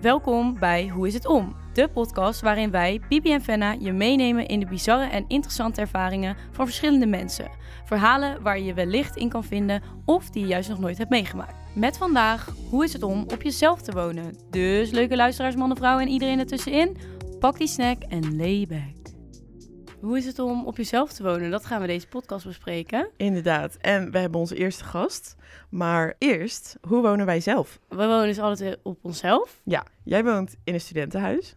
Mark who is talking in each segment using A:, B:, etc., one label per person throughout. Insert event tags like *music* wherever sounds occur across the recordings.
A: Welkom bij Hoe is het om? De podcast waarin wij, Bibi en Fenna, je meenemen in de bizarre en interessante ervaringen van verschillende mensen. Verhalen waar je je wellicht in kan vinden of die je juist nog nooit hebt meegemaakt. Met vandaag, hoe is het om op jezelf te wonen? Dus leuke luisteraars, mannen, vrouwen en iedereen ertussenin, pak die snack en lay back. Hoe is het om op jezelf te wonen? Dat gaan we deze podcast bespreken.
B: Inderdaad. En we hebben onze eerste gast. Maar eerst, hoe wonen wij zelf?
A: We wonen dus alle twee op onszelf.
B: Ja, jij woont in een studentenhuis.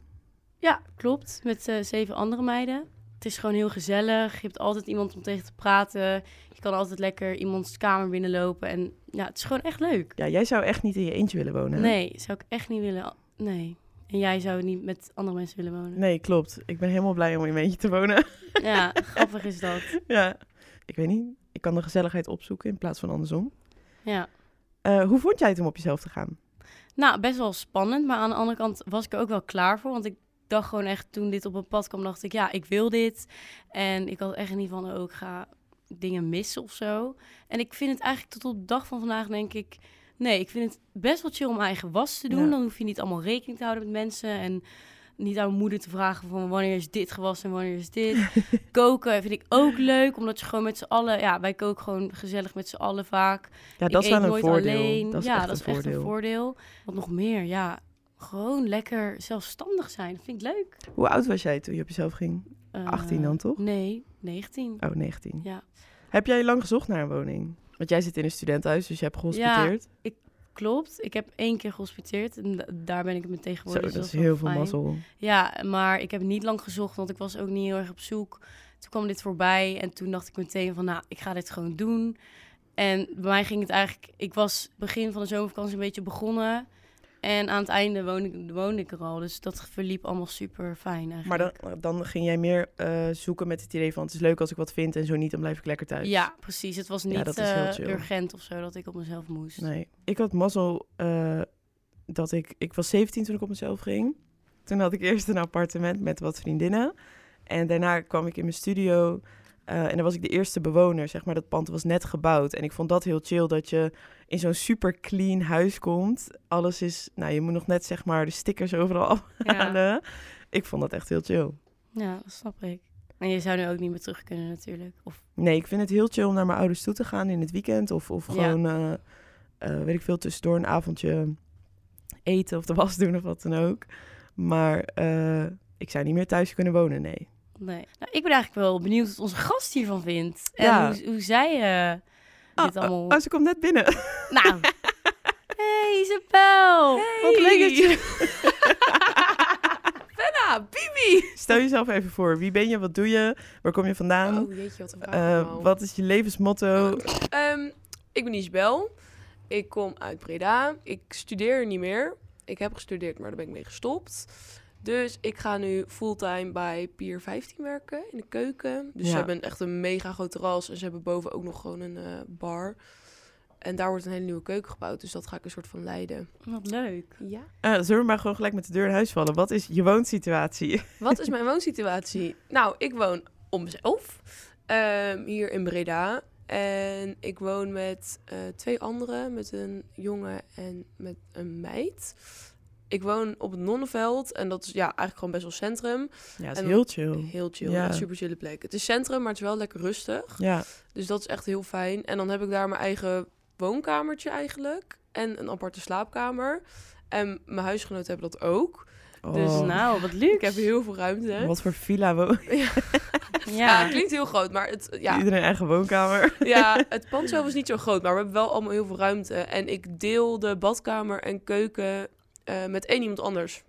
A: Ja, klopt. Met eh, zeven andere meiden. Het is gewoon heel gezellig. Je hebt altijd iemand om tegen te praten. Je kan altijd lekker iemands kamer binnenlopen. En ja, het is gewoon echt leuk.
B: Ja, jij zou echt niet in je eentje willen wonen.
A: Nee, zou ik echt niet willen. Nee. En jij zou niet met andere mensen willen wonen.
B: Nee, klopt. Ik ben helemaal blij om in mijn eentje te wonen. *laughs*
A: Ja, grappig is dat.
B: ja. Ik weet niet. Ik kan de gezelligheid opzoeken in plaats van andersom.
A: Ja.
B: Eh, hoe vond jij het om op jezelf te gaan?
A: Nou, best wel spannend. Maar aan de andere kant was ik er ook wel klaar voor. Want ik dacht gewoon echt, toen dit op mijn pad kwam, dacht ik, ja, ik wil dit. En ik had echt niet van, oh, ik ga dingen missen of zo. En ik vind het eigenlijk tot op de dag van vandaag, denk ik... Nee, ik vind het best wel chill om eigen was te doen.
B: Ja.
A: Dan hoef je niet allemaal rekening te houden met mensen. En niet aan mijn moeder te vragen van wanneer is dit gewassen en wanneer is dit. Koken vind ik ook leuk, omdat je gewoon met z'n allen... Ja, wij koken gewoon gezellig met z'n allen vaak.
B: Ja,
A: Ik
B: dat is
A: eet
B: wel een
A: nooit
B: voordeel.
A: alleen.
B: Dat is
A: ja,
B: echt
A: dat
B: een
A: is echt een
B: voordeel.
A: voordeel. Wat nog meer, ja. Gewoon lekker zelfstandig zijn. Dat vind ik leuk.
B: Hoe oud was jij toen je op jezelf ging?
A: Eh,
B: 18 dan toch?
A: Nee, 19.
B: Oh, 19.
A: Ja.
B: Heb jij lang gezocht naar een woning? Want jij zit in een studentenhuis, dus je hebt gehospiteerd.
A: Klopt. Ik heb één keer gehospiteerd en da- daar ben ik het mee
B: Zo,
A: tegenwoordig.
B: dat
A: dus
B: is
A: wel
B: heel veel
A: fijn.
B: mazzel.
A: Ja, maar ik heb niet lang gezocht, want ik was ook niet heel erg op zoek. Toen kwam dit voorbij en toen dacht ik meteen van, nou, ik ga dit gewoon doen. En bij mij ging het eigenlijk, ik was begin van de zomervakantie een beetje begonnen. En aan het einde woonde ik, woonde ik er al, dus dat verliep allemaal super fijn eigenlijk.
B: Maar dan, dan ging jij meer eh, zoeken met het idee van het is leuk als ik wat vind en zo niet, dan blijf ik lekker thuis.
A: Ja, precies. Het was niet
B: dat is heel
A: eh,
B: chill.
A: urgent of zo dat ik op mezelf moest.
B: Nee, ik had mazzel eh, dat ik... Ik was 17 toen ik op mezelf ging. Toen had ik eerst een appartement met wat vriendinnen. En daarna kwam ik in mijn studio eh, en dan was ik de eerste bewoner. Zeg maar, dat pand was net gebouwd. En ik vond dat heel chill dat je in zo'n super clean huis komt. Alles is... Nou, je moet nog net zeg maar de stickers overal *laughs* afhalen.
A: Ja,
B: Ik vond dat echt heel chill.
A: ja, dat snap ik. En je zou nu ook niet meer terug kunnen natuurlijk. Of,
B: Nee, ik vind het heel chill om naar mijn ouders toe te gaan in het weekend. Of, of
A: Ja.
B: gewoon, eh, eh, weet ik veel, tussendoor een avondje eten of de was doen of wat dan ook. Maar eh, ik zou niet meer thuis kunnen wonen, nee.
A: nee. Nou, ik ben eigenlijk wel benieuwd wat onze gast hiervan vindt. En
B: Ja.
A: hoe, hoe zij eh, dit
B: Ah,
A: allemaal...
B: Oh, ze komt net binnen. *laughs*
A: Nou. Hey Isabel.
B: Wat leuk dat je...
C: Benna, Bibi!
B: Stel jezelf even voor. Wie ben je? Wat doe je? Waar kom je vandaan?
C: Oh, jeetje, wat een vraag
B: Eh,
C: allemaal.
B: wat is je levensmotto?
C: Ehm, ik ben Isabel. Ik kom uit Breda. Ik studeer niet meer. Ik heb gestudeerd, maar daar ben ik mee gestopt. Dus ik ga nu fulltime bij Pier 15 werken in de keuken. Dus
B: Ja.
C: ze hebben echt een mega groot terras. En ze hebben boven ook nog gewoon een eh, bar. En daar wordt een hele nieuwe keuken gebouwd. Dus dat ga ik een soort van leiden.
A: Wat leuk.
C: Ja.
B: Eh, zullen we maar gewoon gelijk met de deur in huis vallen? Wat is je woonsituatie? *laughs*
C: Wat is mijn woonsituatie? Nou, ik woon om mezelf ehm, hier in Breda. En ik woon met eh, twee anderen, met een jongen en met een meid. Ik woon op het Nonnenveld en dat is ja, eigenlijk gewoon best wel centrum.
B: Ja, dat is
C: En-
B: heel chill.
C: Heel chill,
B: Oh. Ja.
C: een super chille plek. Het is centrum, maar het is wel lekker rustig.
B: Ja,
C: Dus dat is echt heel fijn. En dan heb ik daar mijn eigen woonkamertje eigenlijk en een aparte slaapkamer. En mijn huisgenoten hebben dat ook. Dus
B: Oh,
A: Nou, wat leuk.
C: Ik heb heel veel ruimte.
B: wat voor villa woont
C: Ja,
A: Ja.
C: klinkt heel groot, maar het,
B: *laughs*
C: ja,
B: iedereen eigen woonkamer?
C: ja, het pand zelf is niet zo groot, maar we hebben wel allemaal heel veel ruimte. En ik deel de badkamer en keuken eh, met één iemand anders.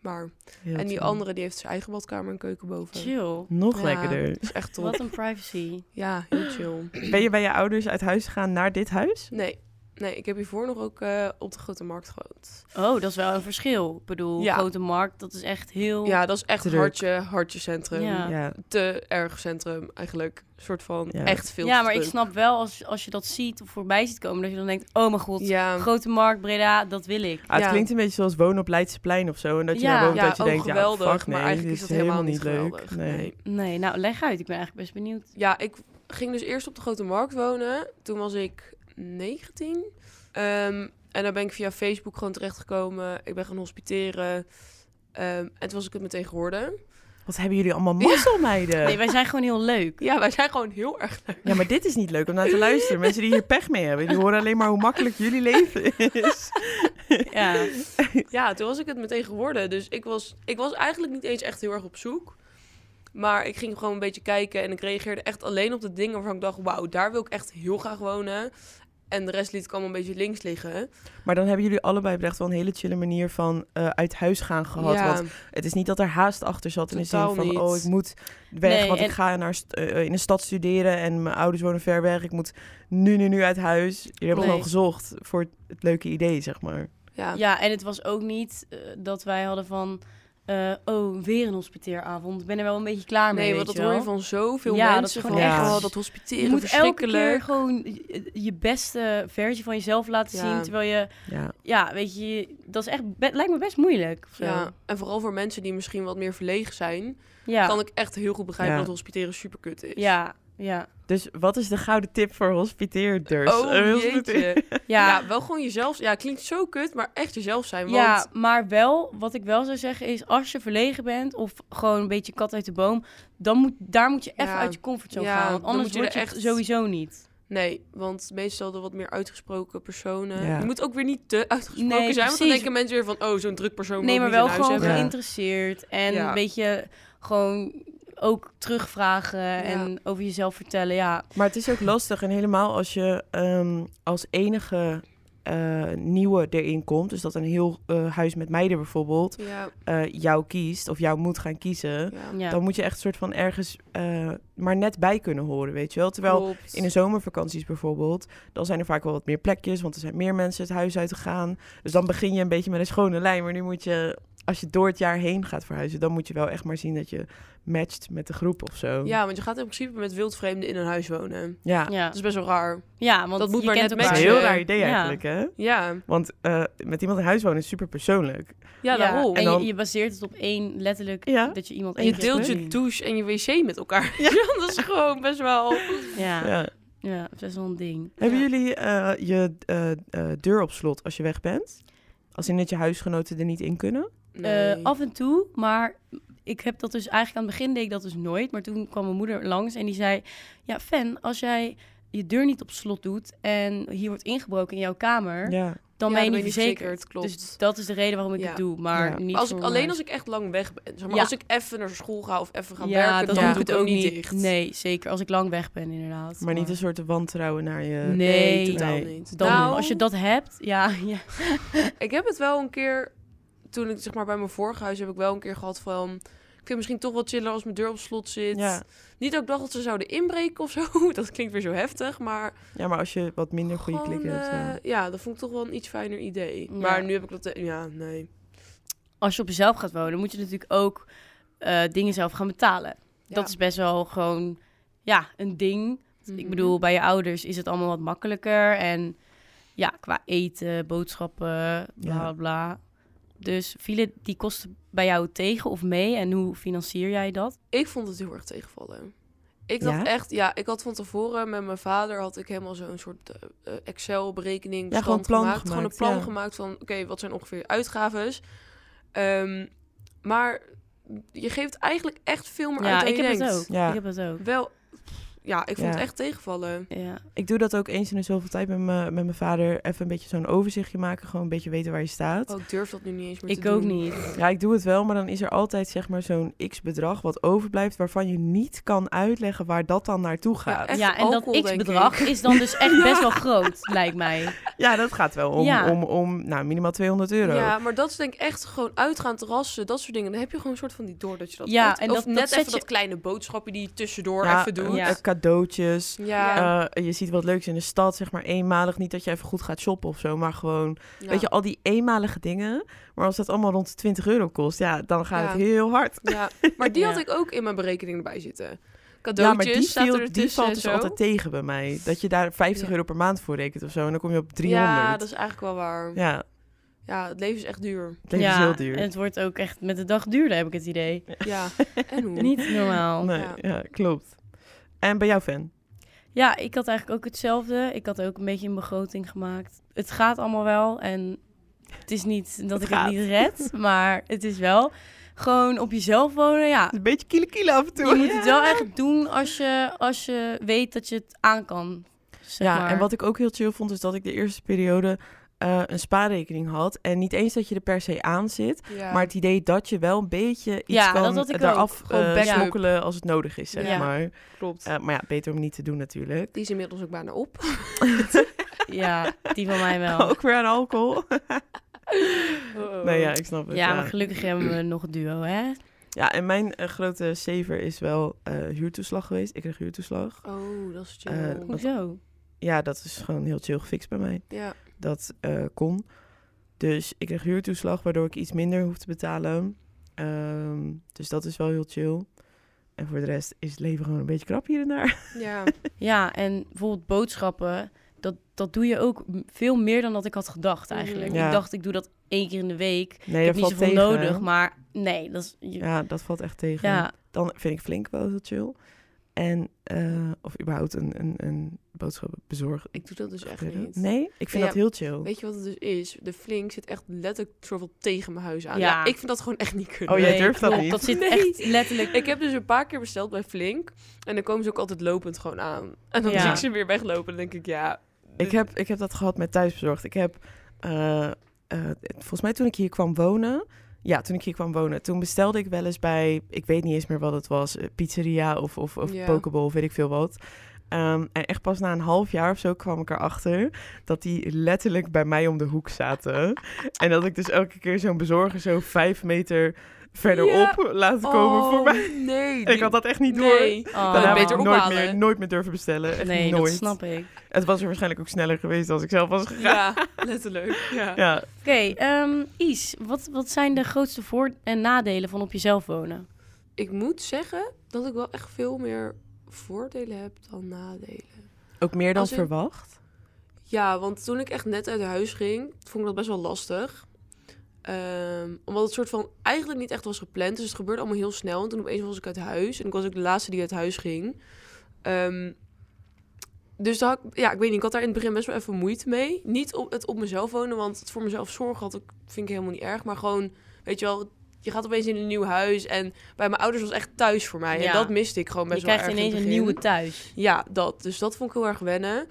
C: Maar,
B: Heel
C: en die
B: chill.
C: andere die heeft zijn eigen badkamer en keuken boven.
A: Chill.
B: Nog
C: Ja.
B: lekkerder.
C: Dat is echt top.
A: Wat een privacy.
C: Ja, heel chill.
B: Ben je bij je ouders uit huis gegaan naar dit huis?
C: Nee, nee ik heb hiervoor nog ook eh, op de Grote Markt gewoond.
A: Oh, dat is wel een verschil. Ik bedoel,
C: Ja.
A: grote markt, dat is echt heel...
C: Ja, dat is echt
B: Oh. Druk.
C: hartje, hartje centrum.
A: Ja.
B: Ja,
C: Te erg centrum eigenlijk. Een soort van
B: Ja.
C: echt veel
A: Ja,
C: te
A: maar ik
C: druk.
A: snap wel als, als je dat ziet of voorbij ziet komen, dat je dan denkt, oh mijn god,
C: Ja.
A: grote markt, Breda, dat wil ik.
B: Ah, het
C: Ja.
B: klinkt een beetje zoals wonen op Leidseplein of zo. En dat je
A: Ja.
B: daar woont
C: Ja,
B: dat je
C: oh,
B: denkt,
C: geweldig,
B: ja, fuck nee,
C: maar eigenlijk
B: dit
C: is dat helemaal niet
B: leuk.
C: geweldig.
B: Nee.
C: Nee.
A: Nee, nou leg uit. Ik ben eigenlijk best benieuwd.
C: Ja, ik ging dus eerst op de Grote Markt wonen. Toen was ik 19. Ehm, En daar ben ik via Facebook gewoon terechtgekomen. Ik ben gaan hospiteren. Ehm, en toen was ik het meteen geworden.
B: Wat hebben jullie allemaal mazzelmeiden?
A: Nee, wij zijn gewoon heel
C: *laughs*
A: leuk.
C: Ja, wij zijn gewoon heel erg leuk.
B: Ja, maar dit is niet leuk om naar te luisteren. Mensen die hier pech mee hebben, die horen alleen maar hoe makkelijk jullie leven
C: *laughs*
B: is.
A: Ja.
C: *laughs* Ja, toen was ik het meteen geworden. Dus ik was, ik was eigenlijk niet eens echt heel erg op zoek. Maar ik ging gewoon een beetje kijken en ik reageerde echt alleen op de dingen waarvan ik dacht: wauw, daar wil ik echt heel graag wonen. En de rest liet ik allemaal een beetje links liggen.
B: Maar dan hebben jullie allebei echt wel een hele chille manier van eh, uit huis gaan gehad.
C: ja,
B: Want het is niet dat er haast achter zat in de zin
C: Totaal
B: van,
C: niet.
B: oh, ik moet weg,
A: Nee,
B: want
A: en-
B: ik ga naar, st- eh, in een stad studeren en mijn ouders wonen ver weg. Ik moet nu, nu, nu uit huis. Jullie hebben
C: Nee.
B: gewoon gezocht voor het- het leuke idee, zeg maar.
C: ja.
A: ja, en het was ook niet eh, dat wij hadden van... eh, oh, weer een hospiteeravond. Ik ben er wel een beetje klaar mee,
C: nee, want
A: weet
C: dat
A: je
C: hoor je
A: wel.
C: van zoveel
A: Ja, dat is
C: mensen.
A: gewoon
C: van,
B: echt-
C: oh, dat hospiteren,
A: Je moet elke
C: verschrikkelijk.
A: keer gewoon je- je beste versie van jezelf laten
C: Ja.
A: zien. Terwijl je,
B: Ja.
A: ja, weet je, dat is echt, be- lijkt me best moeilijk. of zo.
C: Ja, en vooral voor mensen die misschien wat meer verlegen zijn,
A: ja.
C: kan ik echt heel goed begrijpen
B: Ja.
C: dat hospiteren super kut is.
A: ja, ja.
B: Dus wat is de gouden tip voor hospiteerders?
C: Oh,
B: Eh, hospiteer-
C: jeetje.
A: Ja,
C: *laughs* Ja. wel gewoon jezelf. Ja, klinkt zo kut, maar echt jezelf zijn. Want
A: Ja, maar wel, wat ik wel zou zeggen is, als je verlegen bent of gewoon een beetje kat uit de boom, dan moet, daar moet je even
C: Ja.
A: uit je comfortzone
C: Ja,
A: gaan. Want
C: dan
A: anders
C: moet je
A: word je
C: er
A: echt
C: echt-
A: sowieso niet.
C: Nee, want meestal de wat meer uitgesproken personen.
B: Ja.
C: Je moet ook weer niet te uitgesproken
A: Nee,
C: zijn, want dan
A: precies.
C: denken mensen weer van, oh, zo'n druk persoon.
A: Nee,
C: wil
A: maar
C: ik
A: wel
C: niet in huis
A: gewoon
B: hebben. Ja.
A: geïnteresseerd en
C: Ja.
A: een beetje gewoon ook terugvragen en over jezelf vertellen. Ja,
B: Maar het is ook lastig en helemaal als je ehm, als enige eh, nieuwe erin komt, dus dat een heel eh, huis met meiden bijvoorbeeld
C: hebben. Ja,
B: eh, jou kiest of jou moet gaan kiezen,
C: ja.
A: ja.
B: dan moet je echt soort van ergens eh, maar net bij kunnen horen, weet je wel? Terwijl
C: Klopt.
B: in de zomervakanties bijvoorbeeld, dan zijn er vaak wel wat meer plekjes, want er zijn meer mensen het huis uit gegaan. Dus dan begin je een beetje met een schone lijn, maar nu moet je als je door het jaar heen gaat verhuizen, dan moet je wel echt maar zien dat je matcht met de groep of zo.
C: Ja, want je gaat in principe met wildvreemden in een huis wonen.
B: ja.
A: ja.
C: Dat is best wel raar.
A: ja, want
C: dat moet
A: je
C: maar
A: kent
C: net
B: Dat
A: elkaar.
B: is een
C: matchen.
B: heel raar idee
A: Ja.
B: eigenlijk, hè?
C: Ja,
B: Want eh, met iemand in huis wonen is super persoonlijk.
C: ja, daarom.
A: En
C: En
B: dan-
A: je, je baseert het op één, letterlijk,
B: Ja.
A: dat je iemand
B: En
A: één
C: je
A: keer-
C: deelt je
B: Nee.
C: douche en je wc met elkaar. *laughs* dat is gewoon best wel...
A: Ja, ja.
B: Ja.
A: dat is best wel een ding.
B: Hebben
C: Ja.
B: jullie eh, je eh, eh, deur op slot als je weg bent? Als in dat je huisgenoten er niet in kunnen?
A: Eh,
C: Nee.
A: af en toe, maar ik heb dat dus eigenlijk aan het begin deed ik dat dus nooit. Maar toen kwam mijn moeder langs en die zei: Ja, Fan, als jij je deur niet op slot doet en hier wordt ingebroken in jouw kamer,
B: Ja.
A: dan
C: Ja,
A: ben je niet verzekerd.
C: Klopt.
A: Dus dat is de reden waarom ik
C: Ja.
A: het doe. Maar
B: Ja.
A: niet
C: Maar als ik,
A: voor
C: alleen
A: mijn-
C: als ik echt lang weg ben. Zeg maar,
A: Ja.
C: Als ik even naar school ga of even ga
A: ja,
C: werken,
A: dat
C: dan
A: doe
C: doe
A: ik het
C: ook
A: ook niet.
C: dicht.
A: Nee, zeker als ik lang weg ben inderdaad.
B: Maar niet een soort wantrouwen naar je...
A: Nee.
C: Nee, totaal
B: Nee.
C: niet.
A: dan,
C: Nou,
A: als je dat hebt, ja, *laughs* ja.
C: Ik heb het wel een keer, toen ik zeg maar bij mijn vorige huis heb ik wel een keer gehad van, ik vind het misschien toch wel chiller als mijn deur op slot zit.
B: Ja.
C: Niet dat ik dacht dat ze zouden inbreken of zo, *laughs* dat klinkt weer zo heftig, maar
B: ja, maar als je wat minder goede
C: gewoon,
B: klikken hebt. ja.
C: eh, ja, dat vond ik toch wel een iets fijner idee.
A: Ja.
C: Maar nu heb ik dat, eh, ja, nee.
A: Als je op jezelf gaat wonen, moet je natuurlijk ook eh, dingen zelf gaan betalen. Dat is best wel gewoon, ja, een ding.
C: Mhm.
A: Ik bedoel, bij je ouders is het allemaal wat makkelijker. En ja, qua eten, boodschappen, bla
B: Ja.
A: bla bla. Dus vielen die kosten bij jou tegen of mee? En hoe financier jij dat?
C: Ik vond het heel erg tegenvallen. Ik
B: Ja?
C: dacht echt, ja, ik had van tevoren met mijn vader had ik helemaal zo'n soort eh, eh, Excel-berekening,
B: Ja,
C: bestand
B: gewoon een plan
C: gemaakt. Gewoon een
B: gemaakt,
C: plan
B: ja.
C: gemaakt van, oké, wat zijn ongeveer je uitgaves? Ehm, maar je geeft eigenlijk echt veel meer uit
A: ja,
C: dan
A: ik
C: je
A: heb
C: denkt.
A: het ook.
B: Ja.
A: Ik heb het ook.
C: Wel, ja, ik vond
B: Ja.
C: het echt tegenvallen.
A: Ja.
B: Ik doe dat ook eens in de zoveel tijd met, me, met mijn vader. Even een beetje zo'n overzichtje maken. Gewoon een beetje weten waar je staat.
C: Oh, ik durf dat nu niet eens meer te
A: Ik
C: doen.
A: ook
C: Oh.
A: niet.
B: Ja, ik doe het wel. Maar dan is er altijd zeg maar zo'n x-bedrag wat overblijft... waarvan je niet kan uitleggen waar dat dan naartoe
C: Ja,
B: gaat.
C: echt
A: ja, en
C: alcohol,
A: dat
C: denk
A: x-bedrag is dan dus echt best *laughs* wel groot, lijkt mij.
B: Ja, dat gaat wel om,
A: Ja.
B: om, om nou, minimaal 200 euro.
C: Ja, maar dat is denk ik echt gewoon uitgaan, terrassen, dat soort dingen. Dan heb je gewoon een soort van die door dat je dat
A: Ja,
C: doet.
A: en
C: Of
A: dat- dat
C: net
A: zet
C: even
A: je-
C: dat kleine boodschapje die je tussendoor
B: Ja,
C: even doet.
B: eh,
A: Ja.
B: eh, cadeautjes.
C: Ja.
B: Eh, je ziet wat leuks in de stad, zeg maar eenmalig. Niet dat je even goed gaat shoppen of zo, maar gewoon...
C: Ja.
B: Weet je, al die eenmalige dingen. Maar als dat allemaal rond de 20 euro kost, ja, dan gaat
C: Ja.
B: het heel hard.
C: Ja, maar die
A: Ja.
C: had ik ook in mijn berekening erbij zitten.
B: Ja,
C: Cadeautjes
B: maar die,
C: staat er
B: viel, die
C: tussen
B: valt
C: en
B: dus
C: zo.
B: altijd tegen bij mij. Dat je daar 50
C: Ja.
B: euro per maand voor rekent of zo. En dan kom je op 300.
C: Ja, dat is eigenlijk wel waar. Ja,
B: Ja,
C: het leven is echt duur.
B: het leven
A: ja,
B: is heel duur.
A: En het wordt ook echt met de dag duurder, heb ik het idee.
C: Ja, en hoe?
A: Niet normaal.
B: Nee,
C: Ja.
B: ja. klopt. En bij jou, fan?
A: Ja. Ja, ik had eigenlijk ook hetzelfde. Ik had ook een beetje een begroting gemaakt. Het gaat allemaal wel en het is niet dat
B: Het
A: ik
B: gaat.
A: het niet
B: *laughs*
A: red, maar het is wel gewoon op jezelf wonen. Ja,
B: Een beetje kiele kiele af en toe.
A: je moet het wel echt doen als je, als je weet dat je het aan kan. zeg
B: *laughs* Ja,
A: maar.
B: en wat ik ook heel chill vond, is dat ik de eerste periode eh, een spaarrekening had. En niet eens dat je er per se aan zit,
C: Ja.
B: maar het idee dat je wel een beetje iets
A: Ja, dat
B: kan
A: had ik ook.
B: eraf
C: Gewoon
B: eh,
C: backup.
B: smokkelen als het nodig is, zeg
A: Ja.
B: maar.
C: klopt.
B: Eh, maar ja, beter om niet te doen natuurlijk.
C: Die is inmiddels ook bijna op.
A: Ja, die van
B: *laughs*
A: mij wel.
B: Ook weer aan
A: *laughs*
B: alcohol.
C: Nou
B: nee, ja, ik snap het.
A: ja,
B: Ja,
A: maar gelukkig hebben we nog een duo, hè?
B: Ja, en mijn eh, grote saver is wel eh, huurtoeslag geweest. Ik kreeg huurtoeslag.
C: Oh, dat is chill.
B: Eh,
A: Hoezo?
B: Ja, dat is gewoon heel chill gefixt bij mij.
C: ja.
B: dat eh, kon. Dus ik kreeg huurtoeslag, waardoor ik iets minder hoef te betalen. Ehm, dus dat is wel heel chill. En voor de rest is het leven gewoon een beetje krap hier en daar. *laughs*
C: ja.
A: Ja, en bijvoorbeeld boodschappen, dat, dat doe je ook m- veel meer dan dat ik had gedacht eigenlijk.
B: Mhm. Ja.
A: Ik dacht, ik doe dat één keer in de week. ik
B: Nee, dat
A: heb niet
B: valt
A: zoveel
B: tegen.
A: nodig, maar nee, dat is... je- Ja,
B: Ja, dat valt echt tegen.
A: ja,
B: Dan vind ik flink wel heel chill. En, eh, of überhaupt een, een, een boodschap bezorgen.
C: Ik doe dat dus echt
B: gebeuren.
C: niet.
B: Nee, ik vind
C: Ja,
B: dat heel chill.
C: Weet je wat het dus is? De flink zit echt letterlijk soort van tegen mijn huis aan. Ja.
A: Ja.
C: ik vind dat gewoon echt niet kunnen.
B: Oh, jij
A: nee,
B: durft dat
A: klopt,
B: niet?
A: Dat zit
C: Nee.
A: echt letterlijk...
C: Ik heb dus een paar keer besteld bij Flink. En dan komen ze ook altijd lopend gewoon aan. En dan
A: Ja.
C: zie ik ze weer weglopen. Dan denk ik, ja.
B: Ik heb, ik heb dat gehad met thuisbezorgd. Ik heb, eh, eh, volgens mij toen ik hier kwam wonen. Ja, toen ik hier kwam wonen. Toen bestelde ik wel eens bij, ik weet niet eens meer wat het was. eh, Pizzeria of, of, of
C: Ja.
B: Pokeball of weet ik veel wat. Ehm, en echt pas na een half jaar of zo kwam ik erachter dat die letterlijk bij mij om de hoek zaten. en dat ik dus elke keer zo'n bezorger zo vijf meter verderop laat komen voor mij.
C: Oh, Nee.
B: En *laughs* ik had dat echt niet door.
C: nee.
A: Oh.
B: Daarna heb ik
C: beter
B: nooit
C: ophalen.
B: meer, nooit meer durven bestellen. Echt
A: Nee,
B: nooit.
A: dat snap ik.
B: Het was er waarschijnlijk ook sneller geweest als ik zelf was gegaan.
C: *laughs* Ja, letterlijk. Ja.
B: Ja,
A: Oké, ehm, Is, wat, wat zijn de grootste voor- en nadelen van op jezelf wonen?
C: Ik moet zeggen dat ik wel echt veel meer voordelen heb dan nadelen.
B: Ook meer dan
C: Als in-
B: verwacht.
C: Ja, want toen ik echt net uit huis ging, vond ik dat best wel lastig. Ehm, omdat het soort van eigenlijk niet echt was gepland. Dus het gebeurde allemaal heel snel. En toen opeens was ik uit huis. En ik was ook de laatste die uit huis ging. Ehm, dus dat, ja, ik weet niet. Ik had daar in het begin best wel even moeite mee. Niet op het op mezelf wonen, want het voor mezelf zorgen had ik, vind ik helemaal niet erg. Maar gewoon, weet je wel, je gaat opeens in een nieuw huis. En bij mijn ouders was echt thuis voor mij. En
A: Ja.
C: dat miste ik gewoon best
A: Je
C: wel
A: krijgt
C: erg in
A: ineens
C: het
A: een
C: begin.
A: nieuwe thuis.
C: Ja, dat. Dus dat vond ik heel erg wennen.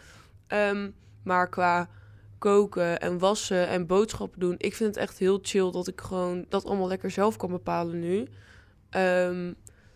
C: Ehm, maar qua koken en wassen en boodschappen doen, ik vind het echt heel chill dat ik gewoon dat allemaal lekker zelf kan bepalen nu. Ehm,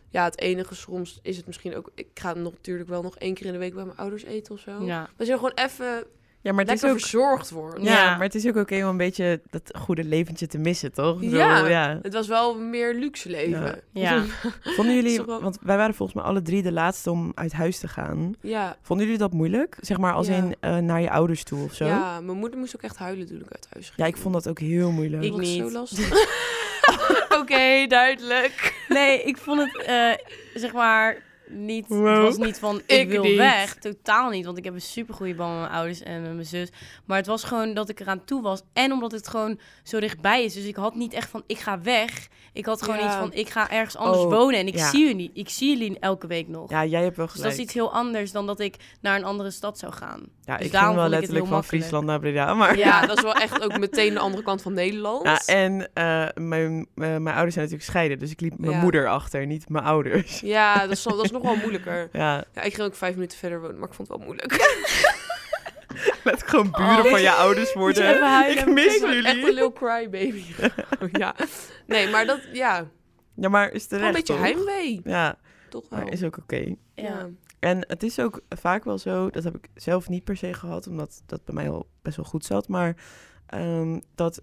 C: ja, het enige soms is het misschien ook. Ik ga nog, natuurlijk wel nog één keer in de week bij mijn ouders eten of zo.
A: Ja.
C: Dat je gewoon even
B: Ja, maar het is
C: lekker
B: ook,
C: verzorgd wordt.
A: Ja.
B: ja, maar het is ook oké om een beetje dat goede leventje te missen, toch? Ik bedoel,
C: Ja.
A: *laughs*
B: ja.
C: Het was wel meer luxe leven.
A: Ja.
B: Vonden jullie,
C: Is toch wel-
B: want wij waren volgens mij alle drie de laatste om uit huis te gaan.
C: Ja.
B: Vonden jullie dat moeilijk? Zeg maar als
C: Ja.
B: in eh, naar je ouders toe of zo?
C: Ja. mijn moeder moest ook echt huilen toen ik uit huis ging.
B: Ja, ik vond dat ook heel moeilijk.
A: Ik-
C: Dat was
A: niet.
C: zo
B: *laughs*
C: lastig. *laughs* Oké, duidelijk.
A: Nee, ik vond het eh, zeg maar niet.
B: Wow.
A: Het was niet van ik,
C: Ik
A: wil
C: niet.
A: weg. Totaal niet. Want ik heb een supergoeie band met mijn ouders en met mijn zus. Maar het was gewoon dat ik eraan toe was. En omdat het gewoon zo dichtbij is. Dus ik had niet echt van ik ga weg. Ik had gewoon
C: Ja.
A: iets van ik ga ergens anders
B: Oh,
A: wonen. En ik
B: ja.
A: zie jullie. Ik zie jullie elke week nog.
B: Ja, jij hebt wel
A: Dus dat
B: gelijk.
A: is iets heel anders dan dat ik naar een andere stad zou gaan.
B: ja,
A: dus
B: ik
A: daarom
B: ging wel
A: vond ik het
B: letterlijk
A: heel
B: van
A: makkelijk.
B: Friesland naar Breda, maar...
C: Ja, dat is wel echt ook meteen de andere kant van Nederland.
B: Ja, en eh, mijn, eh, mijn ouders zijn natuurlijk scheiden, dus ik liep mijn
C: Ja.
B: moeder achter, niet mijn ouders. *laughs*
C: Ja, dat is, dat is nog wel moeilijker.
B: Ja,
C: Ja, ik ging ook vijf minuten verder wonen, maar ik vond het wel moeilijk.
B: laat ik gewoon buren
C: Oh.
B: van je ouders worden.
A: Even huilen.
B: Ik mis
C: Ik ben echt een
B: jullie.
C: little crybaby.
B: *laughs*
C: Oh, ja. Nee, maar dat, ja. wel
B: Ja, maar is terecht,
C: een beetje Oh.
B: toch?
C: heimwee.
B: Ja,
C: Toch wel.
B: maar is ook oké.
A: Ja.
B: En het is ook vaak wel zo, dat heb ik zelf niet per se gehad, omdat dat bij mij al best wel goed zat, maar ehm, dat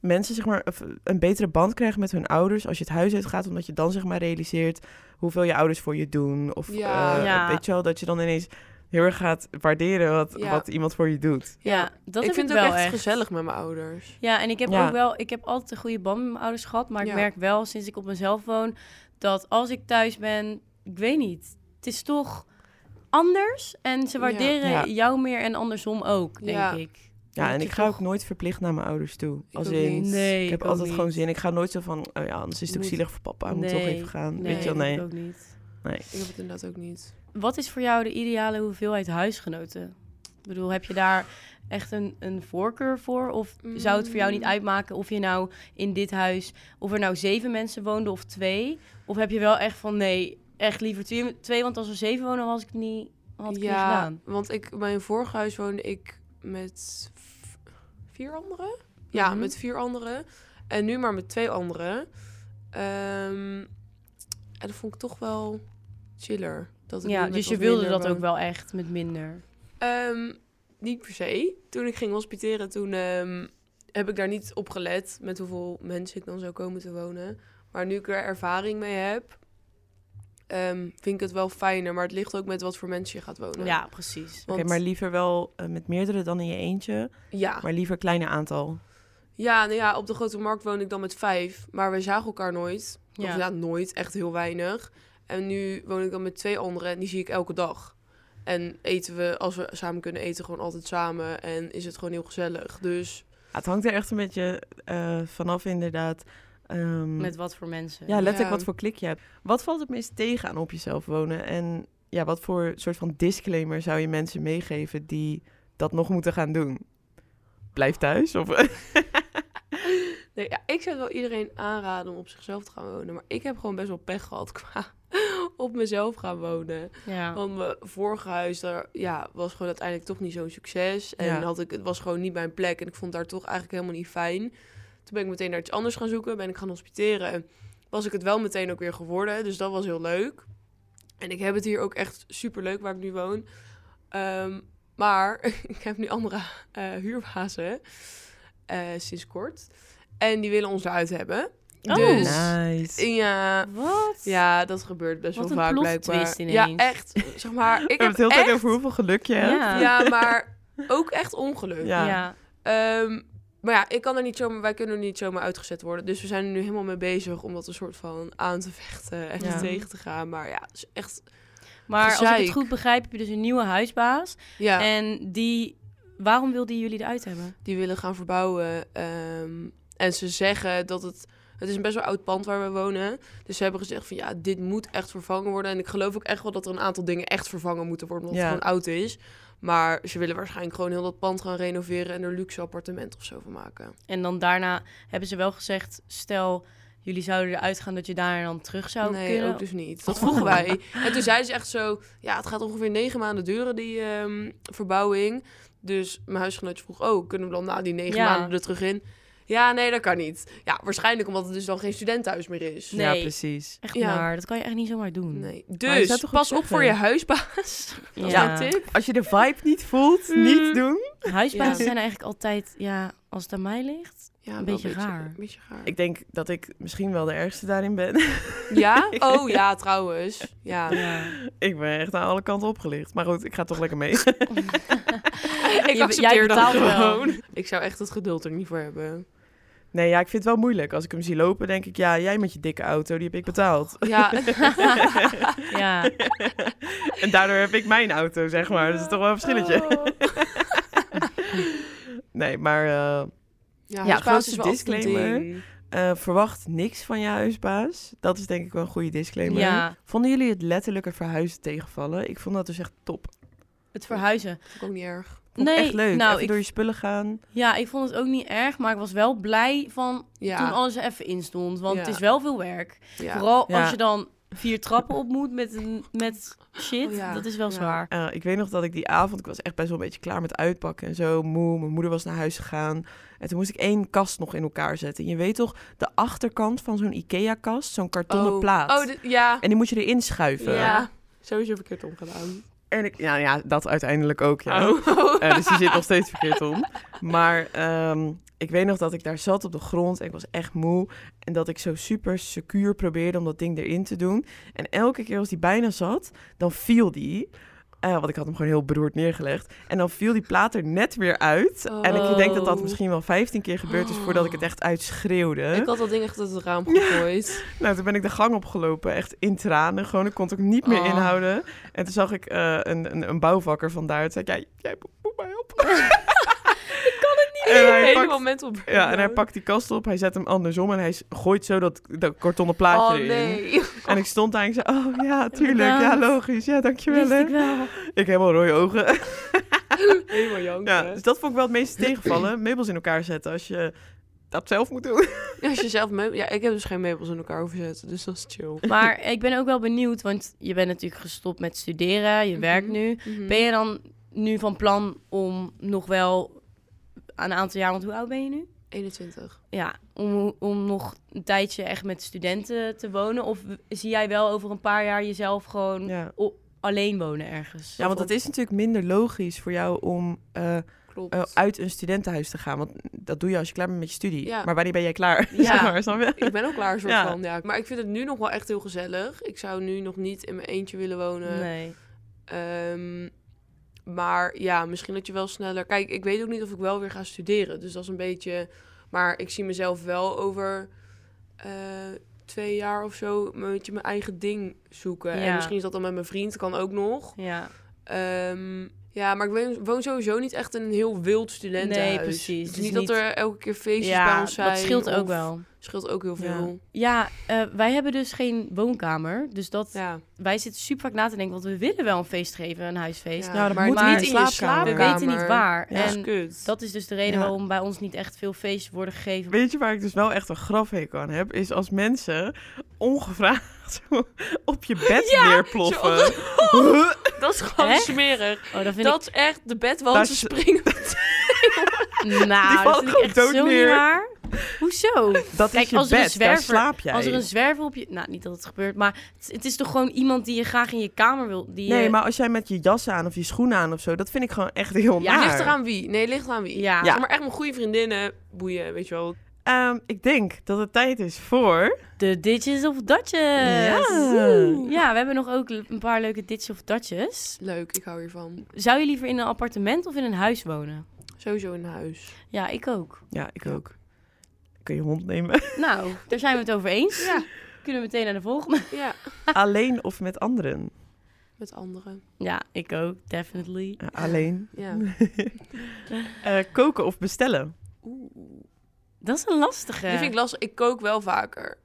B: mensen zeg maar of een betere band krijgen met hun ouders als je het huis uitgaat, omdat je dan zeg maar realiseert hoeveel je ouders voor je doen. Of
C: Ja.
B: eh,
A: Ja.
B: weet je wel, dat je dan ineens heel erg gaat waarderen wat,
C: Ja.
B: wat iemand voor je doet.
A: Ja, dat
C: ik
A: heb
C: vind
A: ik
C: het ook
A: wel
C: echt,
A: echt.
C: gezellig met mijn ouders.
A: Ja, en ik heb
B: Ja.
A: ook wel, ik heb altijd een goede band met mijn ouders gehad, maar
C: Ja.
A: ik merk wel sinds ik op mezelf woon dat als ik thuis ben, ik weet niet, het is toch anders en ze
C: Ja.
A: waarderen
B: Ja.
A: jou meer en andersom ook, denk
C: Ja.
A: ik.
B: Ja,
A: Dat
B: en
A: je
B: ik ga
A: toch-
B: ook nooit verplicht naar mijn ouders toe.
C: Ik
B: als
C: ook
B: in,
C: niet.
A: Nee,
B: ik heb
A: ook
B: altijd
A: niet.
B: gewoon zin. Ik ga nooit zo van, oh ja, anders is het ook
A: Moet-
B: zielig voor papa. Hij moet toch
A: Nee,
B: even gaan.
A: Nee,
B: Weet je wel,
A: dat
B: nee.
A: doe ik ook niet.
B: nee.
C: Ik heb het inderdaad ook niet.
A: wat is voor jou de ideale hoeveelheid huisgenoten? Ik bedoel, heb je daar echt een, een voorkeur voor? Of zou het voor jou niet
C: Mm.
A: uitmaken of je nou in dit huis, of er nou zeven mensen woonden of twee? Of heb je wel echt van nee, echt liever twee, twee want als er zeven wonen was ik het niet, had ik het niet gedaan.
C: want ik, bij mijn vorige huis woonde ik met v- vier anderen. Ja,
A: Mhm.
C: met vier anderen. En nu maar met twee anderen. Ehm, en dat vond ik toch wel chiller. Dat ik nu
A: Ja,
C: met
A: dus je
C: wat
A: wilde
C: minder
A: dat ook
C: woon.
A: wel echt met minder.
C: Ehm, niet per se. Toen ik ging hospiteren, toen ehm, heb ik daar niet op gelet met hoeveel mensen ik dan zou komen te wonen. Maar nu ik er ervaring mee heb, ehm, vind ik het wel fijner. Maar het ligt ook met wat voor mensen je gaat wonen.
A: Ja, precies.
C: Want-
B: maar liever wel eh, met meerdere dan in je eentje,
A: Ah.
C: ja.
B: maar liever kleine aantal.
C: Ja, nou ja, op de grote markt woon ik dan met vijf. Maar we zagen elkaar nooit. Of
A: Ja.
C: ja, nooit. Echt heel weinig. En nu woon ik dan met twee anderen en die zie ik elke dag. En eten we, als we samen kunnen eten, gewoon altijd samen. En is het gewoon heel gezellig. Dus
B: Ja, het hangt er echt een beetje eh, vanaf inderdaad. Ehm,
A: Met wat voor mensen.
B: ja, letterlijk
C: Ja.
B: wat voor klik je hebt. Wat valt het meest tegen aan op jezelf wonen? En ja, wat voor soort van disclaimer zou je mensen meegeven die dat nog moeten gaan doen? Blijf
A: *laughs*
B: thuis?
A: Oh.
B: Of...
C: Nee, ja, ik zou het wel iedereen aanraden om op zichzelf te gaan wonen. Maar ik heb gewoon best wel pech gehad *laughs* qua op mezelf gaan wonen.
A: Ja.
C: Want mijn vorige huis daar, ja, was gewoon uiteindelijk toch niet zo'n succes. En
B: Ja.
C: had ik, het was gewoon niet mijn plek. En ik vond daar toch eigenlijk helemaal niet fijn. Toen ben ik meteen naar iets anders gaan zoeken. Ben ik gaan hospiteren. En was ik het wel meteen ook weer geworden. Dus dat was heel leuk. En ik heb het hier ook echt super leuk waar ik nu woon. Ehm, maar *laughs* ik heb nu andere eh huurbazen eh, sinds kort. En die willen ons eruit hebben.
A: Oh.
C: dus
B: Nice.
C: ja,
A: Wat?
C: ja, dat gebeurt best
A: Wat
C: wel
A: een
C: vaak
A: plot
C: blijkbaar.
A: twist
C: Ja,
A: ineens.
C: echt. Zeg maar, ik
B: Ik heb het heel
C: heel
B: tijd over hoeveel geluk je hebt.
A: Ja.
C: Ja, maar ook echt ongeluk.
B: Ja.
A: ja.
C: Ehm, maar ja, ik kan er niet zomaar, wij kunnen er niet zomaar uitgezet worden. Dus we zijn er nu helemaal mee bezig om dat een soort van aan te vechten en
B: Ja.
C: tegen te gaan. Maar ja, het is echt.
A: Maar als ik het
C: Gezeik.
A: goed begrijp, heb je dus een nieuwe huisbaas.
C: Ja,
A: En die, waarom wilden jullie eruit hebben?
C: die willen gaan verbouwen. ehm, en ze zeggen dat het. Het is een best wel oud pand waar we wonen. Dus ze hebben gezegd van ja, dit moet echt vervangen worden. En ik geloof ook echt wel dat er een aantal dingen echt vervangen moeten worden. Omdat
B: Ja.
C: het gewoon oud is. Maar ze willen waarschijnlijk gewoon heel dat pand gaan renoveren. En er luxe appartement of zo van maken.
A: En dan daarna hebben ze wel gezegd, stel jullie zouden eruit gaan, dat je daar dan terug zou
C: nee,
A: kunnen.
C: ook dus
A: *laughs*
C: niet. Dat vroegen wij. En toen zeiden ze echt zo... Ja, het gaat ongeveer negen maanden duren, die ehm, verbouwing. Dus mijn huisgenootje vroeg... Oh, kunnen we dan na die negen
A: Ja.
C: maanden er terug in? Ja, nee, dat kan niet. Ja, waarschijnlijk omdat het dus dan geen studentenhuis meer is.
A: Nee.
B: Ja, precies.
A: Echt
C: Ja.
A: maar, dat kan je echt niet zomaar doen.
C: Nee.
B: Maar je
C: Dus
B: zou toch
C: pas
B: ook
C: op voor je
B: zeggen?
A: *laughs*
C: huisbaas. Dat
A: Ja.
C: is mijn tip.
B: Als je de vibe niet voelt,
A: Mm.
B: niet doen.
A: Huisbazen
C: Ja.
A: zijn eigenlijk altijd, ja, als het aan mij ligt.
C: Ja, wel
A: Een beetje raar.
C: Een beetje raar.
B: Ik denk dat ik misschien wel de ergste daarin ben. *laughs*
A: *laughs*
C: Ja? Oh ja, trouwens. Ja.
A: Ja.
B: ik ben echt aan alle kanten opgelicht. Maar goed, ik ga toch lekker mee. *laughs*
C: Ik
A: jij
C: accepteer dat
A: betaalt wel.
C: gewoon. Ik zou echt het geduld er niet voor
A: *laughs*
C: hebben.
B: Nee, ja, ik vind het wel moeilijk. Als ik hem zie lopen, denk ik, ja, jij met je dikke auto, die heb ik betaald.
C: Ja.
A: ja.
B: En daardoor heb ik mijn auto, zeg maar. Dat is toch wel een verschilletje.
C: Oh.
B: *laughs* Nee, maar eh, Ja,
C: Ja, huisbaas is
B: grootste
C: wel echt een
B: disclaimer.
C: ding.
B: eh, verwacht niks van je huisbaas. Dat is denk ik wel een goede disclaimer.
A: ja,
B: Vonden jullie het letterlijke verhuizen tegenvallen? Ik vond dat dus echt top.
A: het verhuizen.
C: Vond ik ook niet erg.
B: Vond ik
A: Nee,
B: echt leuk.
A: nou,
B: Even
A: ik-
B: door je spullen gaan.
A: Ja, ik vond het ook niet erg, maar ik was wel blij van
C: Ja.
A: toen alles er even in stond. Want
C: Ja.
A: het is wel veel werk.
C: ja.
A: Vooral
B: Ja.
A: als je dan vier trappen op moet met, een, met shit,
C: Oh ja.
A: dat is wel
C: Ja.
A: zwaar.
B: Eh, ik weet nog dat ik die avond, ik was echt best wel een beetje klaar met uitpakken en zo, moe. Mijn moeder was naar huis gegaan. En toen moest ik één kast nog in elkaar zetten. En je weet toch, de achterkant van zo'n IKEA-kast, zo'n kartonnen
C: oh.
B: plaat.
C: Oh, dit- ja.
B: En die moet je erin schuiven.
C: ja. Sowieso verkeerd omgedaan.
B: En ik, nou ja, dat uiteindelijk ook, ja. *laughs*
C: Oh.
B: Eh, dus die zit nog
C: *laughs*
B: steeds verkeerd om. Maar ehm, ik weet nog dat ik daar zat op de grond en ik was echt moe. En dat ik zo super secuur probeerde om dat ding erin te doen. En elke keer als die bijna zat, dan viel die. Eh, want ik had hem gewoon heel beroerd neergelegd. En dan viel die plaat er net weer uit. En ik denk dat dat
A: Oh.
B: misschien wel 15 keer gebeurd is voordat ik het echt uitschreeuwde.
C: Ik had dat ding echt uit het raam gegooid.
B: Nou, toen ben ik de gang opgelopen, echt in tranen. Gewoon, ik kon het ook niet meer
C: Oh.
B: inhouden. En toen zag ik eh, een, een, een bouwvakker vandaar. Toen zei ik, jij, jij moet- moet mij helpen.
A: Ik kan het niet
B: *laughs* En hij
C: Helemaal
B: pakt-
C: mental breakdown.
B: Ja, en hij pakt die kast op, hij zet hem andersom en hij s- gooit zo dat, dat kartonnen plaatje
C: Oh
B: erin.
C: nee.
B: En ik stond daar en ik zei, oh ja, tuurlijk, ja,
A: Inderdaad.
B: logisch, ja, dankjewel.
A: Wist
B: Hè.
A: ik wel.
B: Ik heb al rode ogen.
C: *laughs* Helemaal janken.
B: Ja, dus dat vond ik wel het meeste tegenvallen, meubels in elkaar zetten als je dat zelf moet doen.
C: Als je zelf meubels... Ja, ik heb dus geen meubels in elkaar overzetten, dus dat is chill. *laughs*
A: Maar ik ben ook wel benieuwd, want je bent natuurlijk gestopt met studeren, je werkt
C: Mhm.
A: nu. Ben je dan nu van plan om nog wel een aantal jaar, want hoe oud ben je nu?
C: 21.
A: Ja, om, om nog een tijdje echt met studenten te wonen? Of zie jij wel over een paar jaar jezelf gewoon
B: Ja.
A: o- alleen wonen ergens?
B: Ja, want
A: Of-
B: het is natuurlijk minder logisch voor jou om eh, eh,
C: Klopt.
B: uit een studentenhuis te gaan. Want dat doe je als je klaar bent met je studie.
C: Ja.
B: Maar wanneer ben jij klaar?
A: Ja.
B: *laughs* zeg maar, snap je?
C: ik ben al klaar, soort
B: Ja.
C: van. Ja. Maar ik vind het nu nog wel echt heel gezellig. Ik zou nu nog niet in mijn eentje willen wonen.
A: Nee.
C: Ehm, maar ja, misschien dat je wel sneller... Kijk, ik weet ook niet of ik wel weer ga studeren. Dus dat is een beetje... Maar ik zie mezelf wel over eh, twee jaar of zo... een beetje mijn eigen ding zoeken. En
A: Ja.
C: misschien is dat dan met mijn vriend, kan ook nog.
A: Ja,
C: Ehm, ja, maar ik woon, woon sowieso niet echt in een heel wild studentenhuis.
A: Nee, precies.
C: Het is
A: Dus
C: niet,
A: niet-
C: dat er elke keer feestjes bij
A: ja
C: ons zijn.
A: dat scheelt ook
C: of-
A: wel.
C: scheelt ook heel veel.
A: Ja, eh, wij hebben dus geen woonkamer. Dus dat,
C: Ja.
A: wij zitten super vaak na te denken, want we willen wel een feest geven, een huisfeest.
C: Ja,
B: Nou, dat
C: maar
B: moet
A: niet
B: in
C: in
B: je
C: je
A: We
B: slaapkamer.
C: slaapkamer.
A: weten niet waar.
B: Ja.
A: En
C: kut.
A: dat is dus de reden
B: Ja.
A: waarom bij ons niet echt veel feesten worden gegeven.
B: Weet je waar ik dus wel echt een grafhekel aan heb? Is als mensen ongevraagd *laughs* zo op je bed
C: Ja,
B: neerploffen. Huh?
C: dat is gewoon
A: Echt?
C: smerig.
A: Oh, dat vind
C: Dat is echt de
B: Daar
C: bedwansen
B: is-
C: springen. *laughs*
B: *laughs*
A: ik... Nou, dat
B: vallen
A: vind ik
B: gewoon
A: echt
B: dood
A: zo niet
B: neer.
A: waar. Hoezo?
B: Dat
A: Kijk,
B: is je
A: als er een
B: bed, daar
A: zwerver-
B: slaap jij.
A: Als er een zwerver op je... Nou, niet dat het gebeurt, maar het, het is toch gewoon iemand die je graag in je kamer wil... Die je-
B: Nee, maar als jij met je jas aan of je schoenen aan of zo, dat vind ik gewoon echt heel
A: Ja,
B: ja,
C: Ligt eraan wie? Nee, ligt eraan wie.
A: Ja.
C: Zeg maar echt mijn goede vriendinnen. Boeien, weet je wel.
B: Ehm, ik denk dat het tijd is voor...
A: De ditjes of datjes.
B: Ja.
A: Oeh. Ja, we hebben nog ook een paar leuke ditjes of datjes.
C: Leuk, ik hou hiervan.
A: Zou je liever in een appartement of in een huis wonen?
C: Sowieso in huis. *laughs*
A: Ja, ik ook.
B: Ja, ik ook. Kun je hond nemen? *laughs*
A: Nou, daar zijn we het over eens.
C: Ja,
A: Kunnen we meteen naar de volgende.
C: ja.
B: alleen of met anderen?
C: Met anderen.
A: Ja, ik ook. Definitely.
B: Ja, alleen.
C: Ja.
B: *laughs* Eh, koken of bestellen?
C: Oeh.
A: Dat is een lastige.
C: Die vind ik lastig. Ik kook wel vaker.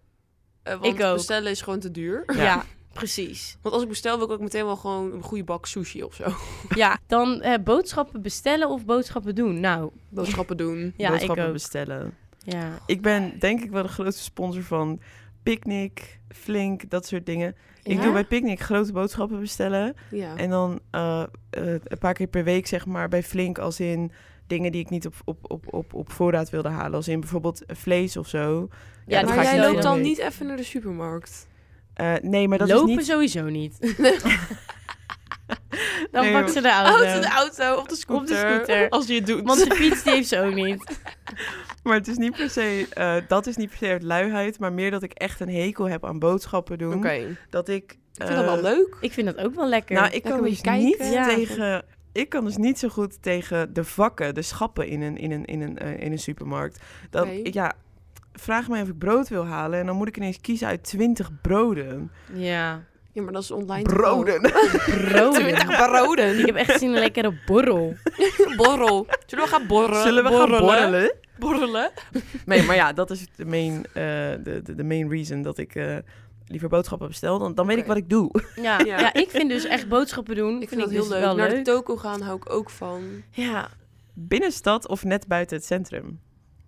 C: Eh, want
A: Ik ook.
C: bestellen is gewoon te duur.
A: ja.
B: Ja.
A: precies.
C: Want als ik bestel wil ik ook meteen wel gewoon een goede bak sushi of zo. *laughs*
A: Ja, dan eh, boodschappen bestellen of boodschappen doen. Nou,
C: *laughs* Boodschappen doen.
A: ja, ik
B: Boodschappen
A: ook.
B: bestellen.
A: Ja.
B: Ik ben denk ik wel de grootste sponsor van Picnic, Flink, dat soort dingen. Ik
A: Ja?
B: doe bij Picnic grote boodschappen bestellen.
C: Ja.
B: En dan eh, eh, een paar keer per week, zeg maar, bij Flink als in dingen die ik niet op, op, op, op, op voorraad wilde halen. Als in bijvoorbeeld vlees of zo.
A: Ja, die
B: dat ga
C: maar
B: ik
C: jij
A: bestel je
C: loopt
A: dan
C: dan
B: mee.
C: niet even naar de supermarkt.
B: Eh, nee, maar dat
A: Lopen
B: is niet...
A: sowieso niet. dan
B: Nee,
A: pakt
B: joh.
A: ze de auto.
C: Auto, de auto, op de scooter.
A: Op de scooter.
C: Als je het doet.
A: Want de fiets die heeft ze ook niet.
B: *laughs* Maar het is niet per se... eh, dat is niet per se uit luiheid, maar meer dat ik echt een hekel heb aan boodschappen doen.
C: Oké.
B: Dat ik...
C: Ik vind dat wel
B: eh,
C: leuk.
A: Ik vind dat ook wel lekker.
B: Nou, ik
C: Lekker
B: kan
C: een
B: dus
C: beetje kijken.
B: niet
A: Ja.
B: tegen. Ik kan dus niet zo goed tegen de vakken, de schappen in een, in een, in een, eh, in een supermarkt. Dan,
C: Nee.
B: ik- Ja, vraag mij of ik brood wil halen en dan moet ik ineens kiezen uit 20 broden.
A: Ja.
C: Ja, maar dat is online. te koop. *laughs*
B: Broden!
A: Broden. Ik
C: Broden.
A: heb echt zin in een lekkere borrel.
C: Borrel. Zullen we gaan borrelen?
B: Zullen we gaan borrelen?
C: Borrelen?
B: Nee, maar ja, dat is de main, eh, de, de, de main reason dat ik eh, liever boodschappen bestel. Dan, dan weet ik
C: Oké.
B: wat ik doe.
A: Ja.
C: Ja.
A: ja, ik vind dus echt boodschappen doen.
C: Ik vind dat
A: ik
C: heel
A: dus
C: leuk.
A: Wel
C: Naar
A: leuk.
C: de toko gaan hou ik ook van.
A: Ja.
B: Binnenstad of net buiten het centrum?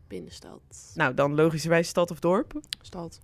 C: Binnenstad.
B: Nou, dan logischerwijs stad of dorp.
C: Stad.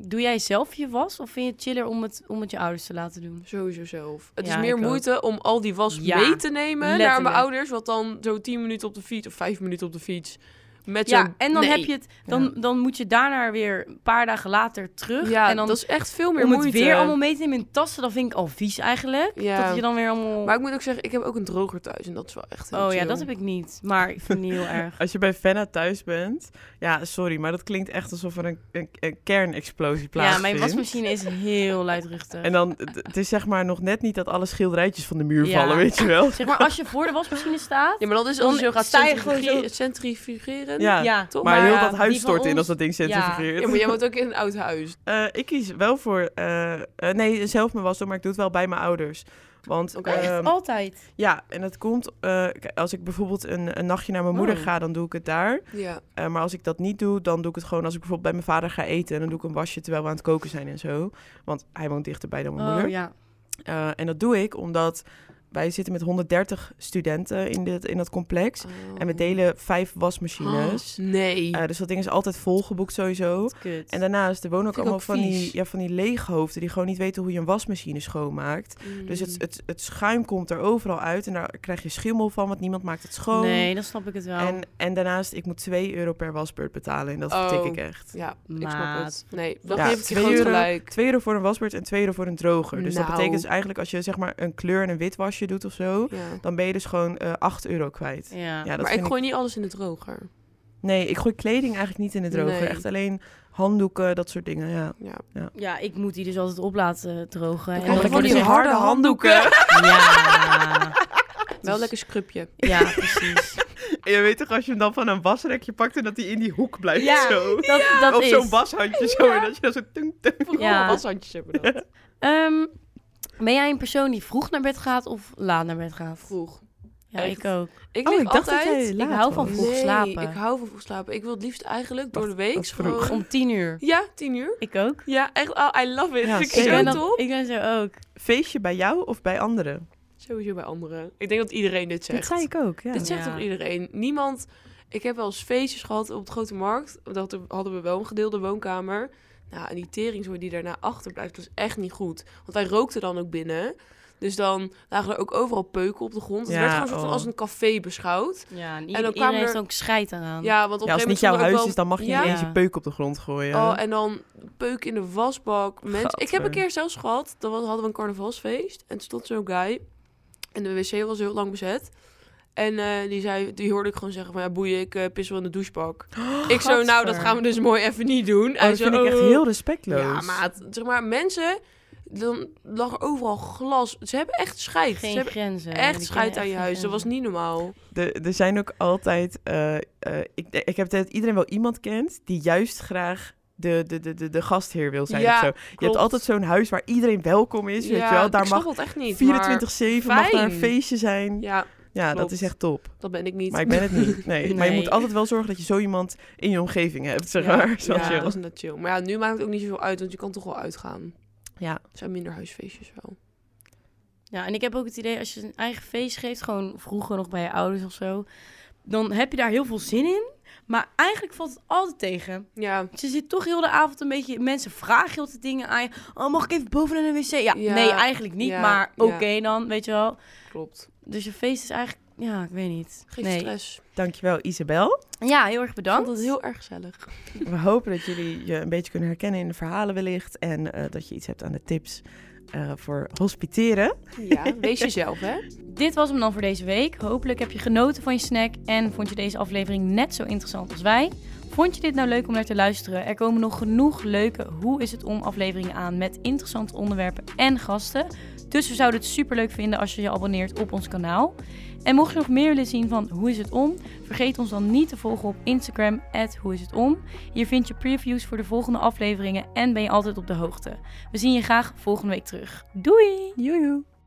A: Doe jij zelf je was of vind je het chiller om het, om het je ouders te laten doen?
C: Sowieso zelf. Het
A: Ja,
C: is
A: ik
C: meer
A: ook.
C: moeite om al die was
A: Ja,
C: mee te nemen naar
A: letterlijk.
C: mijn ouders. Wat dan zo 10 minuten op de fiets of 5 minuten op de fiets. Met
A: Ja,
C: zo'n-
A: en dan
C: Nee.
A: heb je het, dan, dan moet je daarna weer een paar dagen later terug.
C: Ja,
A: en dan
C: dat is echt veel meer
A: om het
C: moeite.
A: weer allemaal mee te nemen in tassen, dat vind ik al vies eigenlijk.
C: Ja.
A: Dat je dan weer allemaal.
C: Maar ik moet ook zeggen, ik heb ook een droger thuis. En dat is wel echt heel
A: oh ja,
C: chill.
A: dat heb ik niet. Maar ik vind het niet heel erg.
B: Als je bij Fenna thuis bent, ja, sorry, maar dat klinkt echt alsof er een, een, een kernexplosie plaatsvindt.
A: Ja, mijn wasmachine is heel luidruchtig.
B: En dan, d- het is zeg maar nog net niet dat alle schilderijtjes van de muur
A: Ja.
B: vallen, weet je
A: *laughs*
B: wel?
A: Zeg maar, als je voor de wasmachine staat.
C: Ja, maar dat is
A: Dan
C: als je zo gaat
A: sta je gewoon
C: centrifugeren- centrifugeren.
B: Ja,
A: toch?
B: maar, heel
A: ja,
B: dat huis
A: die van
B: stort in
A: ons-
B: als dat ding centrifugeert.
C: Ja, maar jij woont ook in een oud huis.
B: Eh, ik kies wel voor, eh, eh, nee, zelf mijn was doen, maar ik doe het wel bij mijn ouders. Want
C: Oké. Echt?
A: Oh.
B: ehm,
A: Altijd.
B: ja, en dat komt eh, kijk, als ik bijvoorbeeld een, een nachtje naar mijn moeder
A: Oh.
B: ga, dan doe ik het daar.
C: Ja.
B: Eh, maar als ik dat niet doe, dan doe ik het gewoon als ik bijvoorbeeld bij mijn vader ga eten. En dan doe ik een wasje terwijl we aan het koken zijn en zo. Want hij woont dichterbij dan mijn
A: Oh
B: moeder.
A: ja.
B: Eh, en dat doe ik omdat wij zitten met 130 studenten in, dit, in dat complex.
A: Oh.
B: En we delen vijf wasmachines.
C: *gasps* nee.
B: Eh, dus dat ding is altijd volgeboekt sowieso.
A: Kut.
B: En daarnaast, er wonen ook
A: Vind ik
B: allemaal
A: ook
B: van,
A: vies.
B: die, ja, van die leeghoofden die gewoon niet weten hoe je een wasmachine schoonmaakt. Dus
A: Mm.
C: Hmm.
B: het, het, het schuim komt er overal uit en daar krijg je schimmel van, want niemand maakt het schoon.
A: Nee, dan snap ik het wel.
B: En, en daarnaast, ik moet 2 euro per wasbeurt betalen. En dat
C: Oh.
B: vertik ik echt.
C: Ja, ik snap
A: Maat.
C: het. Nee, dat
B: Ja,
C: geef ik je
B: twee
C: gewoon
B: euro.
C: gelijk.
B: 2 euro voor een wasbeurt en 2 euro voor een droger. Dus dat
C: Nou.
B: betekent dus eigenlijk als je zeg maar een kleur en een wit wasje doet of zo,
C: Ja.
B: dan ben je dus gewoon eh 8 euro kwijt.
A: ja.
B: Ja, dat
C: maar ik
B: vind
C: gooi niet alles in de droger.
B: Nee, ik gooi kleding eigenlijk niet in de droger.
C: Nee.
B: Echt alleen handdoeken, dat soort dingen. Ja.
C: Ja.
A: Ja, ik moet die dus altijd op laten drogen.
C: Dan
A: En
C: krijg je
A: dan
C: van
A: worden
C: die
A: ze-
C: harde
B: *laughs*
C: handdoeken.
A: Ja.
C: Wel lekker *laughs* scrubje.
A: Ja, precies.
B: En je weet toch, als je hem dan van een wasrekje pakt en dat hij in die hoek blijft
A: Ja,
B: zo.
A: dat, dat
B: of
A: is.
B: zo'n washandje zo. En dat je dan zo tung tung.
A: Ja.
C: washandjes hebben *laughs* we dat.
A: Ehm, ben jij een persoon die vroeg naar bed gaat of laat naar bed gaat?
C: Vroeg.
A: Ja,
C: Echt.
A: ik ook.
C: Ik
B: Oh,
C: lig
B: ik dacht dat
C: altijd...
B: jij laat
A: hou van
B: was.
A: vroeg.
C: nee,
A: slapen.
C: ik hou van vroeg slapen. Ik wil het liefst eigenlijk door
B: Dat-
C: de week
B: dat is vroeg.
C: gewoon...
A: Om tien uur.
C: Ja, tien uur.
A: Ik ook.
C: Ja, echt. Oh, I love it.
B: Ja,
C: Vind *laughs* ik
A: Ik
B: zeker.
C: zo
A: ben,
B: dat-
C: top.
A: ik ben zo ook.
B: Feestje bij jou of bij anderen?
C: Sowieso bij anderen. Ik denk dat iedereen dit zegt.
B: Dat zei ik ook, ja.
C: Dit zegt
A: Ja.
C: toch iedereen? Niemand. Ik heb wel eens feestjes gehad op het grote markt. Dat hadden we wel een gedeelde woonkamer. Nou, en die teringzooi die daarna achterblijft, was echt niet goed. Want wij rookten dan ook binnen. Dus dan lagen er ook overal peuken op de grond. Het
B: Ja,
C: werd gewoon soort van
B: oh.
C: als een café beschouwd.
A: Ja, en,
C: dan
A: iedereen
C: kwamen
A: heeft
C: er-
A: dan ook scheid aan.
C: Ja, want op
B: Ja,
C: een
B: als het niet
C: gegeven
B: jouw
C: moment stond er ook
B: huis
C: wel-
B: is, dan mag je
C: Ja.
B: niet eens
A: Ja.
B: je peuk op de grond gooien.
C: Oh, en dan peuk in de wasbak. Mensen. Ik heb een
B: Gadver.
C: keer zelfs gehad, dan was- hadden we een carnavalsfeest. En toen stond zo'n guy. En de wc was heel lang bezet. En eh, die, zei, die hoorde ik gewoon zeggen van, ja boeien, ik eh, pis wel in de douchebak.
B: *gasps*
C: ik zo, nou dat
A: gadver.
C: gaan we dus mooi even niet doen.
B: Oh, dat vind ik echt heel respectloos.
C: Ja, maat. Zeg maar, mensen, dan lag er overal glas. Ze hebben echt scheid.
A: Geen
C: Ze hebben
A: grenzen.
C: echt
A: Die
C: scheid
A: kennen
C: aan je
A: echt geen
C: huis. Dat was
A: grenzen.
C: niet normaal.
B: De- Er zijn ook altijd. eh, eh, ik, ik heb dat iedereen wel iemand kent die juist graag de, de, de, de, de gastheer wil zijn.
C: Ja,
B: of zo. Je
C: klopt.
B: hebt altijd zo'n huis waar iedereen welkom is. weet je wel? Daar
C: ik snap
B: mag
C: dat echt niet.
B: 24-7
C: maar-
B: mag daar een
C: fijn.
B: feestje zijn. Ja,
C: Ja, klopt.
B: dat is echt top.
C: dat ben ik niet.
B: Maar ik ben het
C: *laughs*
B: niet. Nee. Maar je
A: Nee.
B: moet altijd wel zorgen dat je zo iemand in je omgeving hebt, zeg
C: Ja,
B: maar. *laughs* Zoals
C: ja,
B: je-
C: *laughs* dat is net chill. Maar ja, nu maakt het ook niet zoveel uit, want je kan toch wel uitgaan.
B: Ja.
C: Er zijn minder huisfeestjes wel.
A: Ja, en ik heb ook het idee, als je een eigen feest geeft, gewoon vroeger nog bij je ouders of zo, dan heb je daar heel veel zin in. Maar eigenlijk valt het altijd tegen.
C: Ja,
A: Ze zit toch heel de avond een beetje, mensen vragen heel veel dingen aan je. Oh, mag ik even boven naar de wc? Ja,
C: Ja,
A: nee, eigenlijk niet,
C: ja,
A: maar
C: ja.
A: oké dan, weet je wel.
C: klopt.
A: Dus je feest is eigenlijk, ja, ik weet niet.
C: Geen
A: nee.
C: stress.
B: Dankjewel, Isabel.
A: Ja, heel erg
C: Ik vond
A: bedankt.
C: het heel erg gezellig.
B: We hopen dat jullie je een beetje kunnen herkennen in de verhalen wellicht. En eh, dat je iets hebt aan de tips eh, voor hospiteren.
C: Ja, wees jezelf, hè?
A: Dit was hem dan voor deze week. Hopelijk heb je genoten van je snack en vond je deze aflevering net zo interessant als wij. Vond je dit nou leuk om naar te luisteren? Er komen nog genoeg leuke Hoe is het om afleveringen aan met interessante onderwerpen en gasten. Dus we zouden het super leuk vinden als je je abonneert op ons kanaal. En mocht je nog meer willen zien van Hoe is het om? Vergeet ons dan niet te volgen op Instagram, Hoe is het om. Hier vind je previews voor de volgende afleveringen en ben je altijd op de hoogte. We zien je graag volgende week terug. Doei!
B: Joejoe.